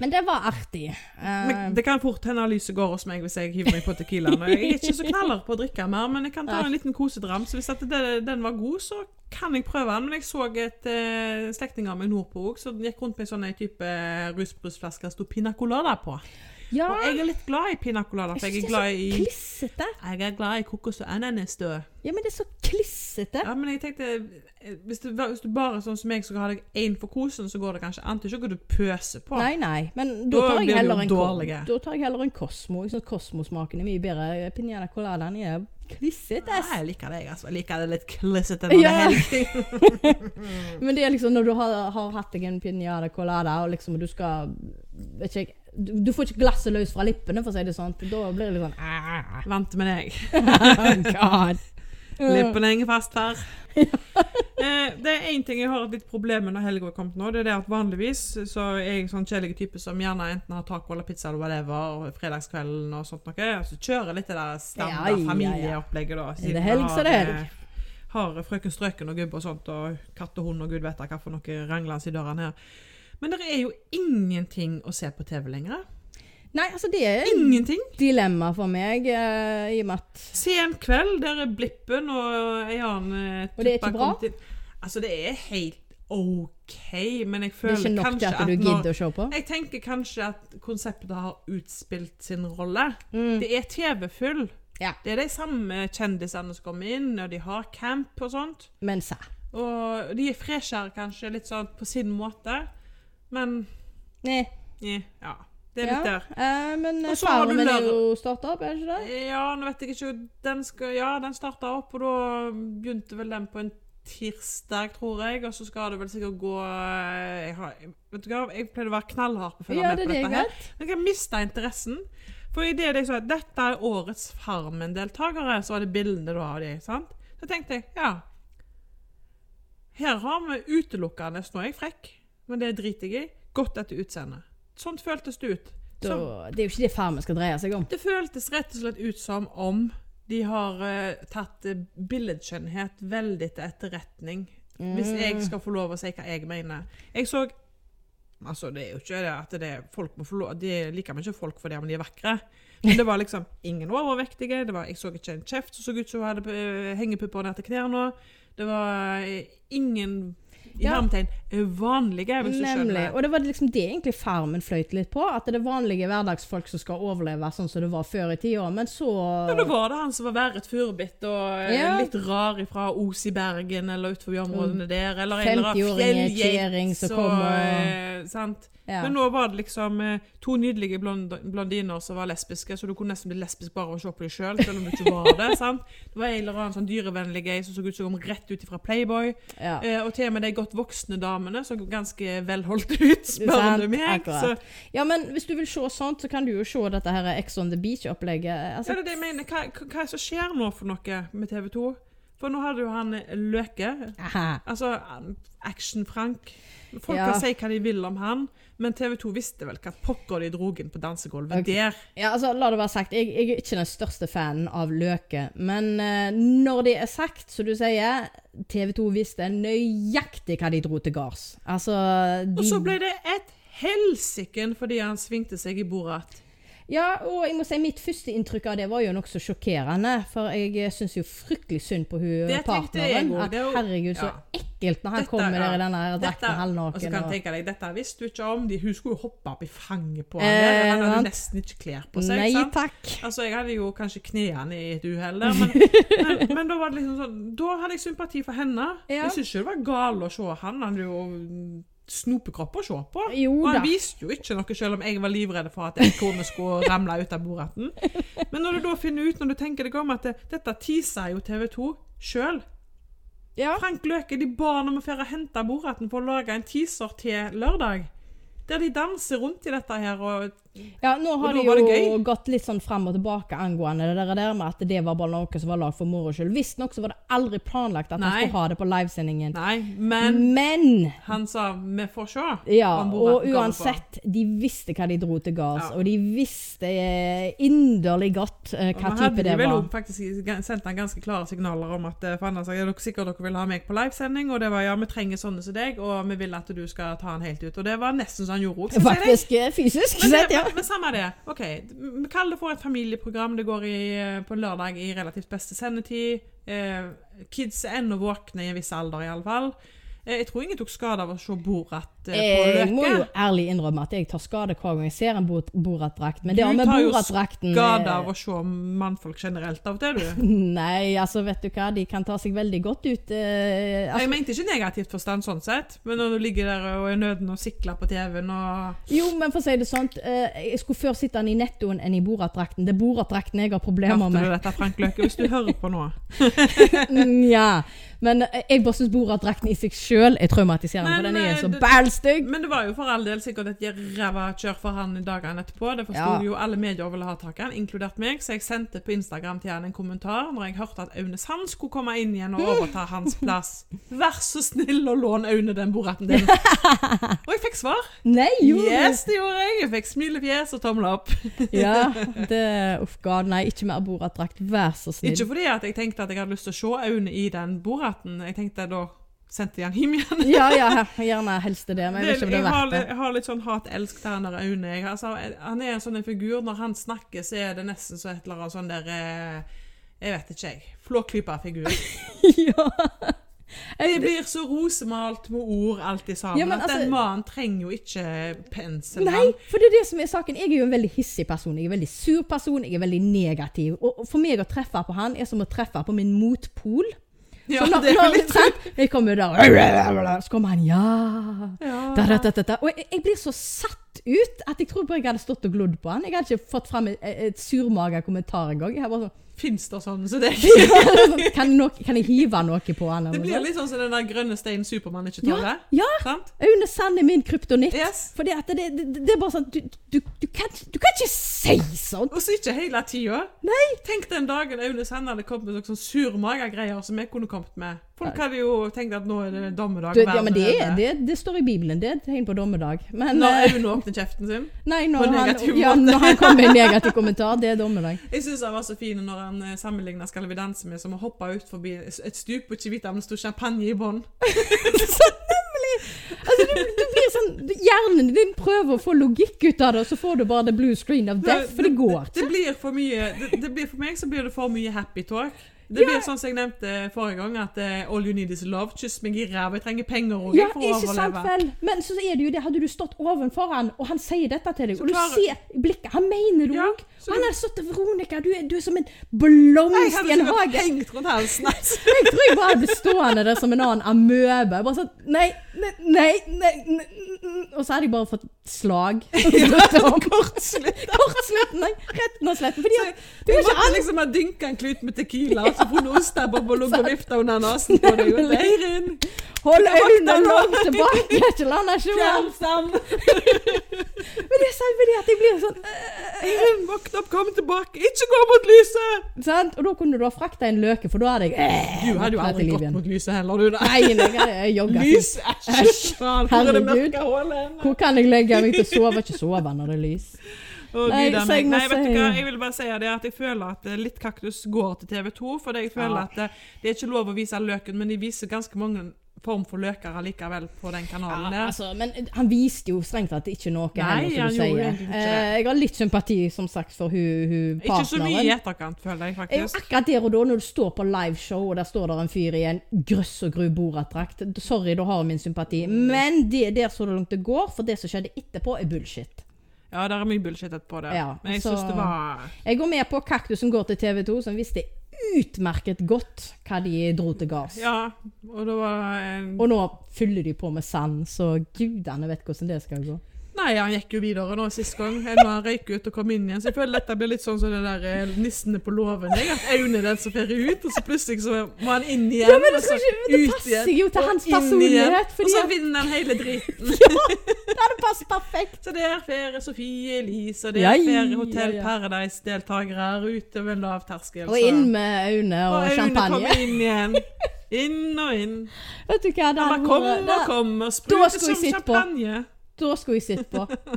[SPEAKER 1] Men det var artig. Eh,
[SPEAKER 2] men Det kan fort hende lyset går hos meg hvis jeg hiver meg på Tequilaen. og Jeg er ikke så knaller på å drikke mer, men jeg kan ta en liten kosedram. Så hvis at det, den var god, så kan jeg prøve den. Men jeg så et eh, slektning av meg nordpå òg, som gikk rundt med en sånn en type rusbrusflaske det sto Pina Colada på.
[SPEAKER 1] ja,
[SPEAKER 2] Og jeg er litt glad i Pina Colada, for jeg
[SPEAKER 1] synes
[SPEAKER 2] er glad
[SPEAKER 1] det er så
[SPEAKER 2] i
[SPEAKER 1] klissete.
[SPEAKER 2] jeg er glad i kokos og ananasdø.
[SPEAKER 1] Ja, men det er så klissete.
[SPEAKER 2] Ja, men jeg tenkte eh, Hvis du, hvis du bare er sånn som meg, så har deg én for kosen, så går det kanskje an. Det er ikke hva du pøser på.
[SPEAKER 1] Nei, nei. Men da
[SPEAKER 2] Da
[SPEAKER 1] tar
[SPEAKER 2] blir
[SPEAKER 1] jeg
[SPEAKER 2] det
[SPEAKER 1] heller
[SPEAKER 2] jo
[SPEAKER 1] en, ko-
[SPEAKER 2] dårlige.
[SPEAKER 1] da tar jeg heller en Cosmo. Jeg synes Cosmo-smaken er mye bedre. Piñana coladaen er klissete.
[SPEAKER 2] Nei,
[SPEAKER 1] ass.
[SPEAKER 2] jeg liker det, jeg, altså. Jeg liker det litt klissete når det
[SPEAKER 1] Ja.
[SPEAKER 2] er helg.
[SPEAKER 1] Men det er liksom når du har, har hatt deg en piñana colada, og liksom du skal Vet ikke jeg du, du får ikke glasset løs fra lippene, for å si det sånn. Da blir det
[SPEAKER 2] <laughs>
[SPEAKER 1] litt sånn ah,
[SPEAKER 2] Vant med deg.
[SPEAKER 1] <laughs> God. Mm.
[SPEAKER 2] Lippene henger fast
[SPEAKER 1] <laughs>
[SPEAKER 2] her. <laughs> Eh, det er én ting jeg har et litt problem med når helga er kommet nå. Det er det at vanligvis så er jeg en sånn kjedelig type som gjerne enten har taco eller pizza eller whatever og fredagskvelden og sånt noe. Og så kjører litt det der
[SPEAKER 1] Ja,
[SPEAKER 2] standard
[SPEAKER 1] ja, ja.
[SPEAKER 2] familieopplegget, da.
[SPEAKER 1] det helg, så er det helg.
[SPEAKER 2] eh, Har frøken Strøken og gubbe og sånt, og katt og hund og gud vet hva for noe ranglende i dørene her. Men det er jo ingenting å se på TV lenger.
[SPEAKER 1] Nei, altså det er
[SPEAKER 2] Ingenting!
[SPEAKER 1] et dilemma for meg, eh, i og med at
[SPEAKER 2] Sen kveld, der er Blippen og eh, en annen
[SPEAKER 1] Og det er ikke bra?
[SPEAKER 2] Altså, det er helt OK, men
[SPEAKER 1] det
[SPEAKER 2] jeg
[SPEAKER 1] er
[SPEAKER 2] føler
[SPEAKER 1] ikke nok til
[SPEAKER 2] kanskje
[SPEAKER 1] at du
[SPEAKER 2] når-
[SPEAKER 1] gidder å se på.
[SPEAKER 2] Jeg tenker kanskje at konseptet har utspilt sin rolle.
[SPEAKER 1] Mm.
[SPEAKER 2] Det er TV-full.
[SPEAKER 1] Ja.
[SPEAKER 2] Det er de samme kjendisene som kommer inn, og de har camp og sånt.
[SPEAKER 1] Men sa.
[SPEAKER 2] Og de er freshere, kanskje, litt sånn på sin måte. Men
[SPEAKER 1] Nei.
[SPEAKER 2] eh, ja. Det er litt
[SPEAKER 1] ja.
[SPEAKER 2] der.
[SPEAKER 1] eh, men eh,
[SPEAKER 2] Og så har
[SPEAKER 1] faren
[SPEAKER 2] du
[SPEAKER 1] min er
[SPEAKER 2] lørdag.
[SPEAKER 1] jo starta opp, er det ikke det?
[SPEAKER 2] Ja, nå vet jeg ikke Den, skal, ja, den starta opp, og da begynte vel den på en tirsdag, tror jeg. Og så skal det vel sikkert gå eh, jeg har, Vet du hva, jeg pleide å være knallhard på å følge
[SPEAKER 1] Ja,
[SPEAKER 2] med
[SPEAKER 1] det
[SPEAKER 2] på
[SPEAKER 1] er det
[SPEAKER 2] dette
[SPEAKER 1] jeg
[SPEAKER 2] her.
[SPEAKER 1] vet.
[SPEAKER 2] Men jeg mista interessen. For i det de sa at dette er årets Farmen-deltakere, så var det bildene da av de, sant? Så tenkte jeg, ja Her har vi utelukkende Nå er jeg frekk, men det driter jeg i. Godt etter utseendet. Sånt føltes det ut. Sånn
[SPEAKER 1] Da,
[SPEAKER 2] Som
[SPEAKER 1] det er jo ikke det Farmen skal dreie seg om.
[SPEAKER 2] det føltes rett og slett ut som om de har eh, tatt eh, billedskjønnhet veldig til etterretning.
[SPEAKER 1] Mm.
[SPEAKER 2] Hvis jeg skal få lov å si hva jeg mener. Jeg så Altså, det er jo ikke det at det er folk må få lov De liker meg ikke folk fordi om de er vakre. Men det var liksom ingen overvektige. Det var, jeg så ikke en kjeft som så ut som hun hadde eh, hengepupper ned til knærne. Det var eh, ingen i
[SPEAKER 1] Ja.
[SPEAKER 2] hermetegn vanlige, hvis du
[SPEAKER 1] Nemlig.
[SPEAKER 2] skjønner.
[SPEAKER 1] Og det var liksom det egentlig Farmen fløyt litt på. At det er vanlige hverdagsfolk som skal overleve sånn som det var før i tida. Men så
[SPEAKER 2] Ja, da var det han som var verret furubitt og eh,
[SPEAKER 1] Ja.
[SPEAKER 2] litt rar ifra Os i Bergen eller utenfor områdene der. Eller en eller annen
[SPEAKER 1] 50-åring er
[SPEAKER 2] fjellgeit,
[SPEAKER 1] kjerring som
[SPEAKER 2] så,
[SPEAKER 1] kommer og
[SPEAKER 2] eh, sant?
[SPEAKER 1] ja.
[SPEAKER 2] Men nå var det liksom eh, to nydelige blond blondiner som var lesbiske, så du kunne nesten bli lesbisk bare av å se på dem sjøl, selv, om du ikke var det. <laughs> sant? Det var en eller annen sånn dyrevennlig gei som så ut som hun kom rett ut ifra Playboy.
[SPEAKER 1] ja.
[SPEAKER 2] Eh, og til og med de godt voksne damene så ganske velholdt ut, <laughs> spør
[SPEAKER 1] Sant,
[SPEAKER 2] du meg. Så,
[SPEAKER 1] akkurat. ja, men hvis du vil se sånt, så kan du jo se dette her Ex on the Beach-opplegget.
[SPEAKER 2] Ja,
[SPEAKER 1] Altså,
[SPEAKER 2] det er det jeg mener. Hva, hva hva er det som skjer nå for noe med TV 2? For nå hadde jo han eh, Løke.
[SPEAKER 1] aha.
[SPEAKER 2] Altså Action-Frank. Folk
[SPEAKER 1] Ja.
[SPEAKER 2] kan si hva de vil om han, men TV 2 visste vel hva pokker de drog inn på dansegulvet
[SPEAKER 1] Ok.
[SPEAKER 2] der.
[SPEAKER 1] Ja, altså, la det være sagt, jeg, jeg er ikke den største fanen av Løke, men eh, når det er sagt, som du sier, TV 2 visste nøyaktig hva de dro til gards. Altså, de...
[SPEAKER 2] Og så ble det et helsiken fordi han svingte seg i bordet igjen.
[SPEAKER 1] Ja, og jeg må si mitt første inntrykk av det var jo nokså sjokkerende, for jeg syns eh, jo fryktelig synd på hun eh,
[SPEAKER 2] Det tenkte jeg
[SPEAKER 1] partneren.
[SPEAKER 2] også,
[SPEAKER 1] At
[SPEAKER 2] det er jo-
[SPEAKER 1] herregud, så
[SPEAKER 2] ja.
[SPEAKER 1] ekkelt når han
[SPEAKER 2] Dette,
[SPEAKER 1] kommer
[SPEAKER 2] ja.
[SPEAKER 1] der i denne her
[SPEAKER 2] Dette,
[SPEAKER 1] drakten
[SPEAKER 2] og så
[SPEAKER 1] halvnaken.
[SPEAKER 2] kan jeg
[SPEAKER 1] Og,
[SPEAKER 2] tenke deg, dette visste du ikke om. De, hun skulle jo hoppe opp i fanget på
[SPEAKER 1] Eh,
[SPEAKER 2] ham. han hadde
[SPEAKER 1] sant.
[SPEAKER 2] nesten ikke klær på seg.
[SPEAKER 1] nei
[SPEAKER 2] sant?
[SPEAKER 1] takk.
[SPEAKER 2] Altså, Jeg hadde jo kanskje knærne i et uhell der,
[SPEAKER 1] <laughs>
[SPEAKER 2] men, men, men da var det liksom sånn, da hadde jeg sympati for henne.
[SPEAKER 1] Ja.
[SPEAKER 2] Jeg syns ikke det var galt å se han. Han hadde jo snopekropp å se på.
[SPEAKER 1] Jo
[SPEAKER 2] Og han
[SPEAKER 1] da.
[SPEAKER 2] viste jo ikke noe, selv om jeg var livredd for at ekornet skulle ramle ut av bordatten. Men når du da finner ut, når du tenker deg om, at det, dette teaser jo TV 2 sjøl.
[SPEAKER 1] Ja.
[SPEAKER 2] Frank Løke de ba om å få hente bordatten for å lage en teaser til lørdag. Der de danser rundt i dette her og
[SPEAKER 1] ja, nå
[SPEAKER 2] Og
[SPEAKER 1] har
[SPEAKER 2] da
[SPEAKER 1] de
[SPEAKER 2] var det
[SPEAKER 1] jo gått litt sånn frem og tilbake angående det der, der med at det var bare noe som var lagd for moro skyld. Visstnok så var det aldri planlagt at han
[SPEAKER 2] Nei.
[SPEAKER 1] skulle ha det på livesendingen.
[SPEAKER 2] Nei, men
[SPEAKER 1] Men
[SPEAKER 2] han sa 'vi får se'.
[SPEAKER 1] Ja,
[SPEAKER 2] om
[SPEAKER 1] og
[SPEAKER 2] bordatten kommer på.
[SPEAKER 1] uansett, de visste hva de dro til gards,
[SPEAKER 2] Ja.
[SPEAKER 1] og de visste eh, inderlig godt eh,
[SPEAKER 2] Og
[SPEAKER 1] hva
[SPEAKER 2] nå
[SPEAKER 1] type det
[SPEAKER 2] hadde de vel
[SPEAKER 1] var.
[SPEAKER 2] også faktisk gan- sendt han ganske klare signaler om at eh, for han sa ja, dere sikkert dere vil ha meg på livesending, og det var ja, vi trenger sånne som deg, og vi vil at du skal ta han helt ut. Og det var nesten så han gjorde òg.
[SPEAKER 1] Faktisk eh, fysisk
[SPEAKER 2] Men,
[SPEAKER 1] sett,
[SPEAKER 2] det,
[SPEAKER 1] ja.
[SPEAKER 2] men, men samme det. Ok, Vi kaller det for et familieprogram. Det går i, eh, på en lørdag i relativt beste sendetid. Eh, kids er ennå våkne i en viss alder, iallfall. Eh, jeg tror ingen tok skade av å se Borat eh, på
[SPEAKER 1] Jeg må jo
[SPEAKER 2] Løke.
[SPEAKER 1] ærlig innrømme at jeg tar skade hver gang jeg ser en Bor- Borat-drakt, men det har
[SPEAKER 2] Du
[SPEAKER 1] med
[SPEAKER 2] tar jo
[SPEAKER 1] Borat-drakten
[SPEAKER 2] Skade
[SPEAKER 1] eh,
[SPEAKER 2] av å se mannfolk generelt av det, du.
[SPEAKER 1] <laughs> Nei, altså, vet du hva, de kan ta seg veldig godt ut. eh,
[SPEAKER 2] Jeg
[SPEAKER 1] altså,
[SPEAKER 2] mente ikke negativt forstand sånn sett, men når du ligger der og er nøden og sikler på TV-en og
[SPEAKER 1] jo, men for å si det sånn, eh, jeg skulle før sitte den i nettoen enn i Borat-drakten. Det er Borat-drakten jeg har problemer
[SPEAKER 2] Hørte du
[SPEAKER 1] med.
[SPEAKER 2] dette, Frank
[SPEAKER 1] <laughs>
[SPEAKER 2] Løke? Hvis du hører på nå.
[SPEAKER 1] Nja. Mm, Men eh, jeg bare syns Borat-drakten i seg sjøl er traumatiserende,
[SPEAKER 2] Nei,
[SPEAKER 1] for den
[SPEAKER 2] nei,
[SPEAKER 1] er så
[SPEAKER 2] eh, det-
[SPEAKER 1] bælstygg.
[SPEAKER 2] Men det var jo for all del sikkert et ræva kjør for han i dagene etterpå. Det forsto
[SPEAKER 1] Ja.
[SPEAKER 2] jo alle medier ville ha tak i han, inkludert meg, så jeg sendte på Instagram til han en kommentar når jeg hørte at Aune Sand skulle komme inn igjen og overta
[SPEAKER 1] <laughs>
[SPEAKER 2] hans plass. Vær så snill å låne Aune den boretten
[SPEAKER 1] <laughs>
[SPEAKER 2] din. Og jeg fikk svar.
[SPEAKER 1] Nei, jo!
[SPEAKER 2] Yes, det gjorde jeg. Jeg fikk smilefjes og tommel opp.
[SPEAKER 1] ja, det Uff, god, nei, ikke mer Borat-drakt. Vær så snill.
[SPEAKER 2] Ikke fordi at jeg tenkte at jeg hadde lyst til å se Aune i den boretten. Jeg tenkte da sendte jeg han hjem igjen.
[SPEAKER 1] ja, ja, gjerne helst det, men jeg vet ikke om det
[SPEAKER 2] jeg,
[SPEAKER 1] er
[SPEAKER 2] har,
[SPEAKER 1] verdt det.
[SPEAKER 2] litt- jeg har litt sånn hat-elsk til han der Aune. Jeg, altså, jeg- han er en sånn en figur. Når han snakker, så er det nesten så et eller annet sånn der eh, Jeg vet ikke, jeg. Flåklypa-figur.
[SPEAKER 1] <laughs> ja.
[SPEAKER 2] Det blir så rosemalt med ord alltid sammen.
[SPEAKER 1] Ja, men
[SPEAKER 2] at
[SPEAKER 1] altså-
[SPEAKER 2] Den mannen trenger jo ikke pensel.
[SPEAKER 1] Nei,
[SPEAKER 2] han.
[SPEAKER 1] for det er det som er saken. Jeg er jo en veldig hissig person. Jeg er en veldig sur person. Jeg er veldig negativ. Og og for meg å treffe på han er som å treffe på min motpol.
[SPEAKER 2] Ja,
[SPEAKER 1] Så når,
[SPEAKER 2] det er jo
[SPEAKER 1] når,
[SPEAKER 2] litt
[SPEAKER 1] sant? Jeg kommer der Så kommer han Ja!
[SPEAKER 2] Ja.
[SPEAKER 1] Da, da, da, da, da. Og jeg, jeg blir så satt ut at jeg tror bare jeg hadde stått og glodd på han. Jeg hadde ikke fått frem et, et surmaga kommentar engang. Jeg hadde bare sånn
[SPEAKER 2] <laughs>
[SPEAKER 1] <laughs>
[SPEAKER 2] Fins det sånn som deg?
[SPEAKER 1] kan, nok- kan jeg hive noe på han? eller
[SPEAKER 2] Det
[SPEAKER 1] noe
[SPEAKER 2] blir
[SPEAKER 1] sånt?
[SPEAKER 2] litt sånn som den der grønne steinen Supermann ikke
[SPEAKER 1] ja,
[SPEAKER 2] tåler.
[SPEAKER 1] ja,
[SPEAKER 2] Sant?
[SPEAKER 1] Aune Sand er min kryptonitt.
[SPEAKER 2] Yes.
[SPEAKER 1] Fordi at det, det, det er bare sånn Du, du, du, kan, ikke- du kan ikke si sånn. sånt!
[SPEAKER 2] Og så ikke hele tida. Tenk den dagen Aune Sand hadde kommet med sånne surmagegreier som jeg kunne kommet med. Folk hadde jo tenkt at nå er det dommedag.
[SPEAKER 1] Du,
[SPEAKER 2] verden
[SPEAKER 1] ja, men det,
[SPEAKER 2] redder.
[SPEAKER 1] er- det, det står i Bibelen. Det er tegn på dommedag. Men
[SPEAKER 2] Når
[SPEAKER 1] eh,
[SPEAKER 2] Aune åpner kjeften sin.
[SPEAKER 1] nei,
[SPEAKER 2] på
[SPEAKER 1] når
[SPEAKER 2] en
[SPEAKER 1] han,
[SPEAKER 2] negativ
[SPEAKER 1] ja,
[SPEAKER 2] måte.
[SPEAKER 1] når han kommer med en negativ kommentar, det er dommedag.
[SPEAKER 2] Jeg syns han var så fin når han eh, sammenligna Skal vi danse med som å hoppe ut forbi et stup og ikke vite om det sto champagne i bånn.
[SPEAKER 1] Altså, du, du blir sånn, du- Hjernen din prøver å få logikk ut av det, og så får du bare the blue screen of death, for det går
[SPEAKER 2] Det blir for mye det, det blir, For meg så blir det for mye happy talk. Det blir sånn som jeg nevnte forrige gang, at eh, all you need is love. Kyss meg i ræva. Jeg trenger penger òg
[SPEAKER 1] Ja,
[SPEAKER 2] for å
[SPEAKER 1] ikke sant
[SPEAKER 2] overleve.
[SPEAKER 1] vel? Men så er det jo det, hadde du stått ovenfor han, og han sier dette til deg, og du
[SPEAKER 2] klarer-
[SPEAKER 1] ser i blikket, han mener det
[SPEAKER 2] Ja,
[SPEAKER 1] òg.
[SPEAKER 2] så
[SPEAKER 1] og han
[SPEAKER 2] du-
[SPEAKER 1] hadde stått til Veronica, du er, du er som en
[SPEAKER 2] Jeg
[SPEAKER 1] blomst i
[SPEAKER 2] hadde
[SPEAKER 1] en
[SPEAKER 2] sikkert
[SPEAKER 1] hage.
[SPEAKER 2] hengt rundt halsen altså. hans.
[SPEAKER 1] Jeg tror jeg bare ble stående der som en annen amøbe. Bare sånn nei, nei, nei, nei, nei, nei. Og så hadde jeg bare fått slag.
[SPEAKER 2] <laughs> Kortslutt.
[SPEAKER 1] Kortslutten, nei. Retten og sletten. Fordi at
[SPEAKER 2] Du måtte liksom ha dynka en klut med tequila altså, og så funnet ostebobber
[SPEAKER 1] <laughs>
[SPEAKER 2] og ligget og vifta under nesen på deg. Og Leirin,
[SPEAKER 1] Hold øynene langt
[SPEAKER 2] <laughs>
[SPEAKER 1] tilbake, ikke la han ikke være. <laughs>
[SPEAKER 2] Fjernstand!
[SPEAKER 1] Men det er sant, fordi at jeg blir sånn
[SPEAKER 2] Leirin, våkn opp, kom tilbake! Ikke gå mot lyset!
[SPEAKER 1] sant? Og da kunne du ha frakta en løke, for da hadde jeg øh,
[SPEAKER 2] Du hadde jo aldri gått mot lyset heller, du. da.
[SPEAKER 1] Eh, Nei, nei, jeg hadde jeg jogget.
[SPEAKER 2] Lys, æsj!
[SPEAKER 1] Æsj.
[SPEAKER 2] faen, Hvor er det
[SPEAKER 1] Herregud.
[SPEAKER 2] mørke hullet henne?
[SPEAKER 1] Hvor kan jeg legge meg til å sove? Ikke sove når det er lys.
[SPEAKER 2] Å,
[SPEAKER 1] Nei,
[SPEAKER 2] Gud,
[SPEAKER 1] så
[SPEAKER 2] meg.
[SPEAKER 1] jeg må
[SPEAKER 2] Nei, vet du
[SPEAKER 1] si-
[SPEAKER 2] hva? Jeg vil bare si det at jeg føler at eh, Litt kaktus går til TV 2. For jeg føler
[SPEAKER 1] Ja.
[SPEAKER 2] at eh, det er ikke lov å vise løken, men de viser ganske mange form for løker allikevel på den kanalen
[SPEAKER 1] Ja,
[SPEAKER 2] der.
[SPEAKER 1] altså, men han viste jo strengt tatt ikke noe
[SPEAKER 2] Nei,
[SPEAKER 1] heller, som
[SPEAKER 2] han
[SPEAKER 1] du
[SPEAKER 2] gjorde
[SPEAKER 1] sier.
[SPEAKER 2] egentlig ikke det.
[SPEAKER 1] Eh, jeg har litt sympati, som sagt, for hun, hun
[SPEAKER 2] Ikke så mye i
[SPEAKER 1] partneren.
[SPEAKER 2] etterkant, føler jeg
[SPEAKER 1] Jeg er jo
[SPEAKER 2] faktisk.
[SPEAKER 1] akkurat der og da, når du står på liveshow, og der står der en fyr i en grøss og gru Borat-drakt. Sorry, da har jeg min sympati.
[SPEAKER 2] Mm.
[SPEAKER 1] Men det der så langt det går, for det som skjedde etterpå, er bullshit.
[SPEAKER 2] Ja, det er mye bullshit etterpå der.
[SPEAKER 1] Ja,
[SPEAKER 2] Men jeg
[SPEAKER 1] så-
[SPEAKER 2] syns det var
[SPEAKER 1] Jeg går med på Kaktusen går til TV 2, som visste utmerket godt hva de dro til gards.
[SPEAKER 2] Ja, og det var en...
[SPEAKER 1] Og nå fyller de på med sand, så gudene vet hvordan det skal gå.
[SPEAKER 2] Nei, han gikk jo videre nå sist gang. Enn når han røyk ut og kom inn igjen. Så jeg føler dette blir litt sånn som det der eh, nissene på låven. jeg, At Aune er den som fer ut, og så plutselig så må han inn igjen.
[SPEAKER 1] Ja, men det
[SPEAKER 2] og
[SPEAKER 1] skal
[SPEAKER 2] så
[SPEAKER 1] ikke- det
[SPEAKER 2] ut
[SPEAKER 1] passer
[SPEAKER 2] igjen,
[SPEAKER 1] jo til
[SPEAKER 2] og
[SPEAKER 1] hans
[SPEAKER 2] inn igjen,
[SPEAKER 1] personlighet, fordi
[SPEAKER 2] Og så
[SPEAKER 1] at-
[SPEAKER 2] vinner han hele driten.
[SPEAKER 1] Det hadde passet perfekt!
[SPEAKER 2] Så der fer Sofie Elise, og
[SPEAKER 1] Ja,
[SPEAKER 2] der fer
[SPEAKER 1] ja,
[SPEAKER 2] Hotell
[SPEAKER 1] ja.
[SPEAKER 2] Paradise-deltakere ute ved en lav terskel.
[SPEAKER 1] Og
[SPEAKER 2] så-
[SPEAKER 1] inn med Aune og,
[SPEAKER 2] og Aune
[SPEAKER 1] champagne.
[SPEAKER 2] kommer inn igjen. Inn og inn.
[SPEAKER 1] Vet du hva, det
[SPEAKER 2] Han bare
[SPEAKER 1] hadde vært-
[SPEAKER 2] kom og
[SPEAKER 1] det-
[SPEAKER 2] kom og
[SPEAKER 1] Da
[SPEAKER 2] sprute
[SPEAKER 1] skulle jeg
[SPEAKER 2] som
[SPEAKER 1] sitte på.
[SPEAKER 2] champagne.
[SPEAKER 1] Da skulle jeg sittet på.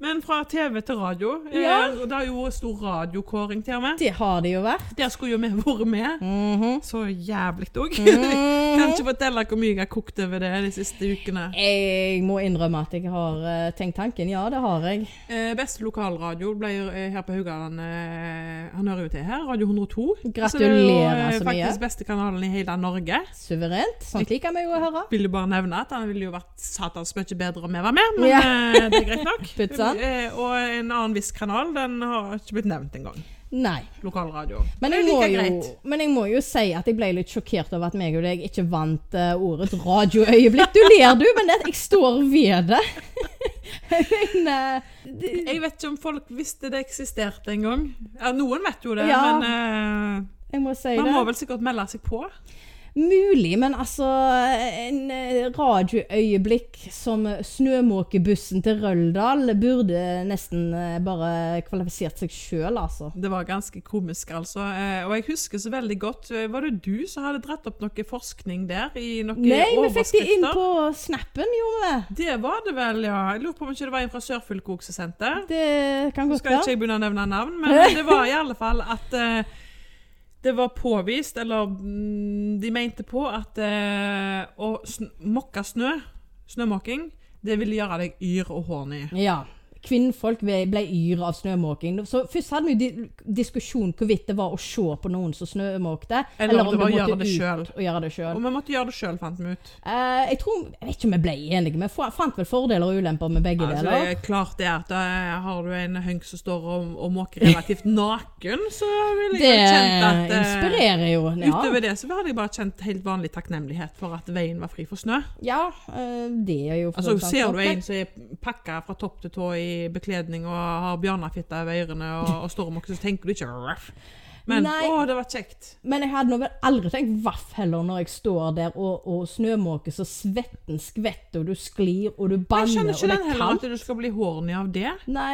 [SPEAKER 2] Men fra TV til radio. eh,
[SPEAKER 1] Ja.
[SPEAKER 2] og Det har jo vært stor radiokåring til og med.
[SPEAKER 1] Det har det jo vært.
[SPEAKER 2] Der skulle jo vi vært med. <laughs>
[SPEAKER 1] Mhm.
[SPEAKER 2] Så jævlig òg.
[SPEAKER 1] Mhm.
[SPEAKER 2] <laughs> Kan ikke fortelle hvor mye jeg har kokt over det de siste ukene.
[SPEAKER 1] Jeg må innrømme at jeg har eh, tenkt tanken. Ja, det har jeg.
[SPEAKER 2] Eh, beste lokalradio ble jo, eh, her på Haugaland. Eh, han hører jo til her. Radio 102.
[SPEAKER 1] Gratulerer
[SPEAKER 2] Så det er jo, eh,
[SPEAKER 1] så mye.
[SPEAKER 2] Faktisk beste kanalen i hele Norge.
[SPEAKER 1] Suverent. Sånt liker vi jo å høre.
[SPEAKER 2] Ville bare nevne at han ville jo vært satans mye bedre om vi var med, men
[SPEAKER 1] Ja.
[SPEAKER 2] eh, det er
[SPEAKER 1] <laughs>
[SPEAKER 2] greit nok.
[SPEAKER 1] Putsan.
[SPEAKER 2] Eh, og en annen viss kanal, den har ikke blitt nevnt engang.
[SPEAKER 1] Nei.
[SPEAKER 2] Lokalradio.
[SPEAKER 1] Men
[SPEAKER 2] Det
[SPEAKER 1] jeg,
[SPEAKER 2] er
[SPEAKER 1] må
[SPEAKER 2] like
[SPEAKER 1] jo,
[SPEAKER 2] greit.
[SPEAKER 1] men jeg må jo si at jeg ble litt sjokkert over at meg og deg ikke vant eh, ordet radioøyeblikk. Du ler, du, men det, jeg står ved det. <laughs> men, eh,
[SPEAKER 2] Jeg vet ikke om folk visste det eksisterte engang. Ja, noen vet jo det,
[SPEAKER 1] Ja.
[SPEAKER 2] men eh,
[SPEAKER 1] jeg må si
[SPEAKER 2] Man
[SPEAKER 1] det.
[SPEAKER 2] må vel sikkert melde seg på.
[SPEAKER 1] Mulig, men altså En eh, radioøyeblikk som snømåkebussen til Røldal burde nesten eh, bare kvalifisert seg sjøl, altså.
[SPEAKER 2] Det var ganske komisk, altså. Eh, Og jeg husker så veldig godt eh, Var det du som hadde dratt opp noe forskning der? I noen
[SPEAKER 1] Nei, vi fikk
[SPEAKER 2] overskrifter?
[SPEAKER 1] det inn på snappen, gjorde vi.
[SPEAKER 2] Det var det vel, ja. Jeg lurer på om ikke det var en fra Sørfylket også som sendte.
[SPEAKER 1] Det kan
[SPEAKER 2] Nå
[SPEAKER 1] godt
[SPEAKER 2] skal ikke
[SPEAKER 1] være.
[SPEAKER 2] jeg begynne å nevne navn, men det var i alle fall at eh, det var påvist, eller mm, de mente på, at eh, å sn mokke snø, snømåking, det ville gjøre deg yr og horny.
[SPEAKER 1] Ja. Kvinnfolk ble ble yr av snømåking. Så først hadde vi jo di diskusjon hvorvidt det var å se på noen som snømåkte,
[SPEAKER 2] Eller om det var å gjøre det selv.
[SPEAKER 1] og gjøre det sjøl.
[SPEAKER 2] Og vi måtte gjøre det sjøl, fant vi ut.
[SPEAKER 1] Eh, jeg tror Jeg vet ikke om vi ble enige, men jeg fant vel fordeler og ulemper med begge
[SPEAKER 2] Altså,
[SPEAKER 1] deler.
[SPEAKER 2] det er klart det er at eh, har du en hønk som står og, og måker relativt naken, så vil jeg
[SPEAKER 1] Det
[SPEAKER 2] jo kjenne at eh,
[SPEAKER 1] inspirerer jo. Ja.
[SPEAKER 2] Utover det så hadde jeg bare kjent helt vanlig takknemlighet for at veien var fri for snø.
[SPEAKER 1] Ja, eh, det er jo for så
[SPEAKER 2] Altså,
[SPEAKER 1] vidt sant
[SPEAKER 2] ser
[SPEAKER 1] nok,
[SPEAKER 2] du
[SPEAKER 1] men-
[SPEAKER 2] en som er pakka fra topp til tå i bekledning og har bjørnefitte over ørene og, og står og måker, så tenker du ikke ruff. Men
[SPEAKER 1] Nei.
[SPEAKER 2] å, det var kjekt.
[SPEAKER 1] Men jeg hadde nå vel aldri tenkt vaff heller når jeg står der og, og snømåker så svetten skvetter, og du sklir, og du
[SPEAKER 2] Men Jeg
[SPEAKER 1] banner,
[SPEAKER 2] skjønner
[SPEAKER 1] og
[SPEAKER 2] ikke
[SPEAKER 1] det
[SPEAKER 2] den
[SPEAKER 1] er
[SPEAKER 2] heller,
[SPEAKER 1] kaldt.
[SPEAKER 2] at du skal bli horny av det.
[SPEAKER 1] Nei,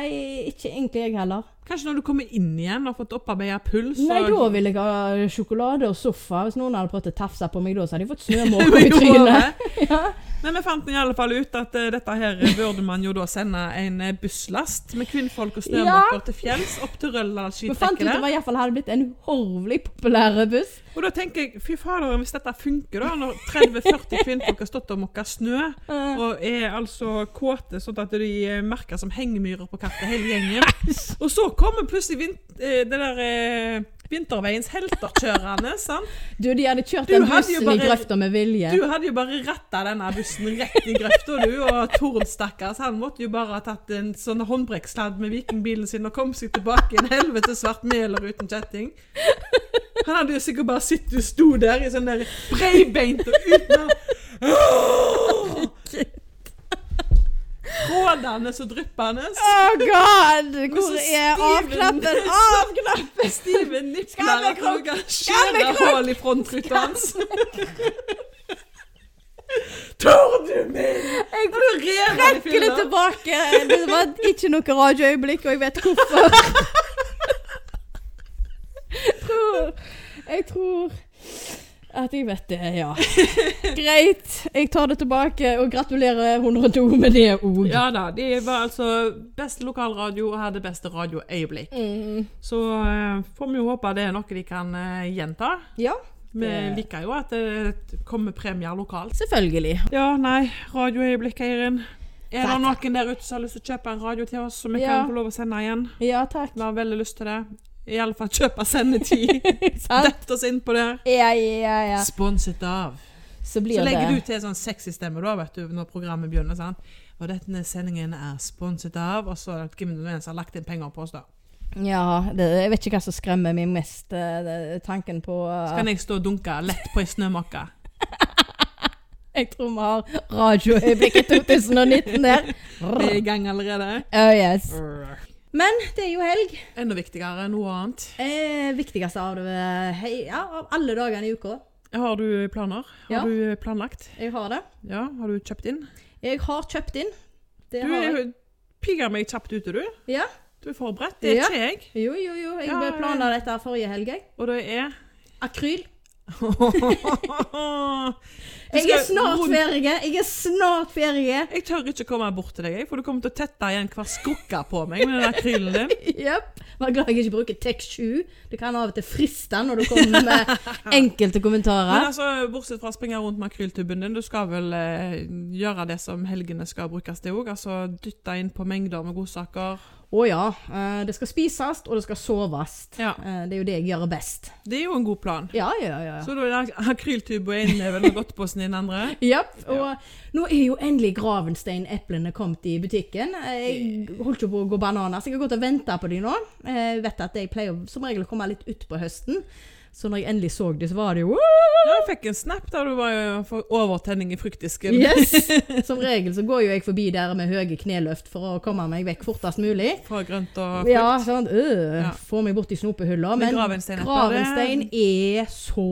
[SPEAKER 1] ikke egentlig jeg heller.
[SPEAKER 2] Kanskje når du kommer inn igjen og har fått opparbeida puls
[SPEAKER 1] Nei, da
[SPEAKER 2] og <laughs>
[SPEAKER 1] ville jeg ha sjokolade og sofa. Hvis noen hadde prøvd å tafse på meg da, så hadde jeg
[SPEAKER 2] <laughs>
[SPEAKER 1] fått snømåker i
[SPEAKER 2] Jo,
[SPEAKER 1] trynet. <laughs>
[SPEAKER 2] det. Men vi fant i alle fall ut at eh, dette her burde man jo da sende en eh, busslast med kvinnfolk og snømåker til fjells opp til
[SPEAKER 1] Vi
[SPEAKER 2] Røldal
[SPEAKER 1] fant ut at
[SPEAKER 2] skitrekkene.
[SPEAKER 1] det i hvert fall hadde blitt en horvelig populær buss.
[SPEAKER 2] Og da tenker jeg, fy fader, hvis dette funker da, når 30-40 kvinnfolk har stått og mokka snø, og er altså kåte sånn at de eh, merker som hengemyrer på kartet hele gjengen. Og så kommer plutselig vin eh, det der eh, vinterveiens helter kjørende, sant?
[SPEAKER 1] Du, de hadde kjørt
[SPEAKER 2] Du
[SPEAKER 1] den
[SPEAKER 2] hadde jo
[SPEAKER 1] bussen i
[SPEAKER 2] bare-
[SPEAKER 1] grøfta med vilje.
[SPEAKER 2] Du hadde jo bare retta denne bussen rett i grøfta, du. Og Tord, stakkars, han måtte jo bare ha tatt en sånn håndbrekkssladd med vikingbilen sin og kom seg tilbake i en helvete svart meler uten kjetting. Han hadde jo sikkert bare sittet og sto der i sånn der breibeint og uten Åh! Rådende og dryppende.
[SPEAKER 1] Oh god! Hvor
[SPEAKER 2] så
[SPEAKER 1] er
[SPEAKER 2] stiv
[SPEAKER 1] av-knappen?
[SPEAKER 2] den-
[SPEAKER 1] Av-knappen!
[SPEAKER 2] Stive
[SPEAKER 1] Skal
[SPEAKER 2] nipler
[SPEAKER 1] vi
[SPEAKER 2] og
[SPEAKER 1] krukke?
[SPEAKER 2] noen
[SPEAKER 1] Skal vi
[SPEAKER 2] skjære
[SPEAKER 1] krukke?
[SPEAKER 2] hull i frontruta hans. Tord, du min!
[SPEAKER 1] Jeg
[SPEAKER 2] Du rev han i
[SPEAKER 1] trekker det
[SPEAKER 2] filla.
[SPEAKER 1] tilbake. Det var ikke noe radioøyeblikk, og jeg vet hvorfor. Jeg tror Jeg tror at jeg vet det, ja. Greit. Jeg tar det tilbake, og gratulerer 102 med det òg.
[SPEAKER 2] Ja da, de var altså beste lokalradio og hadde beste radioøyeblikk.
[SPEAKER 1] Mm.
[SPEAKER 2] Så eh, får vi jo håpe det er noe de kan eh, gjenta.
[SPEAKER 1] Ja.
[SPEAKER 2] Vi liker jo at det kommer premier lokalt.
[SPEAKER 1] Selvfølgelig.
[SPEAKER 2] Ja, nei, radioøyeblikk, Eirin. Er det
[SPEAKER 1] Takk.
[SPEAKER 2] noen der ute som har lyst til å kjøpe en radio til oss, som vi
[SPEAKER 1] Ja.
[SPEAKER 2] kan få lov å sende igjen?
[SPEAKER 1] Ja, takk.
[SPEAKER 2] Vi har veldig lyst til det. Iallfall
[SPEAKER 1] <laughs>
[SPEAKER 2] kjøpe sendetid.
[SPEAKER 1] Sant?
[SPEAKER 2] Dett oss inn på det.
[SPEAKER 1] Ja, ja, ja.
[SPEAKER 2] Sponset av.
[SPEAKER 1] Så
[SPEAKER 2] Så
[SPEAKER 1] blir
[SPEAKER 2] legger du
[SPEAKER 1] det
[SPEAKER 2] til sånn sexy stemme da, vet du, når programmet begynner. sant? Og denne sendingen er sponset av, og så hvem det nå er som har lagt inn penger på oss, da.
[SPEAKER 1] Ja, det, jeg vet ikke hva som skremmer meg mest. eh, det- Tanken på
[SPEAKER 2] Så
[SPEAKER 1] eh,
[SPEAKER 2] kan jeg stå og dunke lett på ei snømåke.
[SPEAKER 1] Jeg tror vi har radioøyeblikket 2019
[SPEAKER 2] <laughs>
[SPEAKER 1] der.
[SPEAKER 2] Vi er i gang allerede.
[SPEAKER 1] Oh yes.
[SPEAKER 2] Brr.
[SPEAKER 1] Men det er jo helg.
[SPEAKER 2] Enda viktigere enn noe annet.
[SPEAKER 1] Eh, viktigste av det eh, hei, ja, av alle dagene i uka.
[SPEAKER 2] Har du planer? Har
[SPEAKER 1] Ja.
[SPEAKER 2] du planlagt?
[SPEAKER 1] Jeg har det.
[SPEAKER 2] Ja, har du kjøpt inn?
[SPEAKER 1] Jeg har kjøpt inn. Det
[SPEAKER 2] Du
[SPEAKER 1] har jeg.
[SPEAKER 2] er- pigger meg kjapt ute, du.
[SPEAKER 1] Ja.
[SPEAKER 2] Du er forberedt. Det er
[SPEAKER 1] Ja.
[SPEAKER 2] ikke jeg.
[SPEAKER 1] Jo, jo, jo. Jeg
[SPEAKER 2] Ja,
[SPEAKER 1] ble planla dette her forrige helg. jeg.
[SPEAKER 2] Og det er
[SPEAKER 1] Akryl.
[SPEAKER 2] Du
[SPEAKER 1] Jeg er
[SPEAKER 2] skal
[SPEAKER 1] snart
[SPEAKER 2] rundt-
[SPEAKER 1] ferdig. Jeg er snart ferdig.
[SPEAKER 2] <laughs> Jeg tør ikke komme bort til deg, jeg, for du kommer til å tette igjen hver skrukke på meg med den akrylen din.
[SPEAKER 1] Jepp. Var glad jeg ikke bruker TEK7. Det kan av og til friste når du kommer
[SPEAKER 2] <laughs>
[SPEAKER 1] med enkelte
[SPEAKER 2] Men
[SPEAKER 1] kommentarer.
[SPEAKER 2] altså, Bortsett fra å springe rundt med akryltubben din, du skal vel eh, gjøre det som helgene skal brukes til òg? Altså dytte inn på mengder med godsaker.
[SPEAKER 1] Å ja. eh, Det skal spises, og det skal soves.
[SPEAKER 2] Ja.
[SPEAKER 1] Eh, Det er jo det jeg gjør best.
[SPEAKER 2] Det er jo en god plan.
[SPEAKER 1] Ja, ja, ja. ja.
[SPEAKER 2] Så da er det akryltube og innneven og godtposen i den andre.
[SPEAKER 1] Japp. Og nå er jo endelig Gravenstein-eplene kommet i butikken. Eh, Jeg holdt jo på å gå bananer, så jeg har gått og venta på de nå. Jeg vet at jeg pleier å- som regel å komme litt utpå høsten. Så når jeg endelig så de, så var det jo «Woo!»
[SPEAKER 2] Ja, jeg fikk en snap der du var jo for overtenning i fruktdisken.
[SPEAKER 1] Yes!
[SPEAKER 2] <laughs>
[SPEAKER 1] Som regel så går jo jeg forbi der med høye kneløft for å komme meg vekk fortest mulig.
[SPEAKER 2] Fra grønt og frukt.
[SPEAKER 1] Ja, sant. Øh,
[SPEAKER 2] Ja.
[SPEAKER 1] Få meg bort i snopehylla. Men,
[SPEAKER 2] Men gravenstein er bare-
[SPEAKER 1] gravenstein er så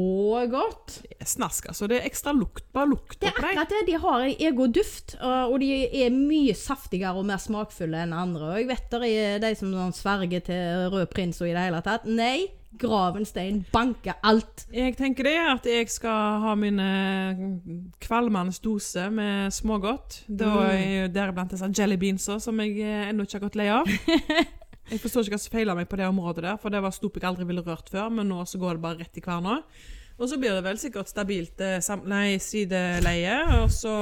[SPEAKER 1] godt.
[SPEAKER 2] Snask, altså. Det er ekstra lukt. Bare lukt
[SPEAKER 1] Det er
[SPEAKER 2] oppi deg.
[SPEAKER 1] akkurat det. De har en egen duft, og og de er mye saftigere og mer smakfulle enn andre. Og jeg vet det er de som sånn sverger til Rød prins og i det hele tatt. Nei, gravenstein banker alt.
[SPEAKER 2] Jeg tenker det at jeg skal ha min eh, kvalmende dose med smågodt. Da er jo Deriblant disse jellybeansa som jeg eh, ennå ikke har gått lei av. Jeg forstår ikke hva som feiler meg på det området der, for det var stop jeg aldri ville rørt før, men nå så går det bare rett i kverna. Og så blir det vel sikkert stabilt eh, sam nei, sideleie, og så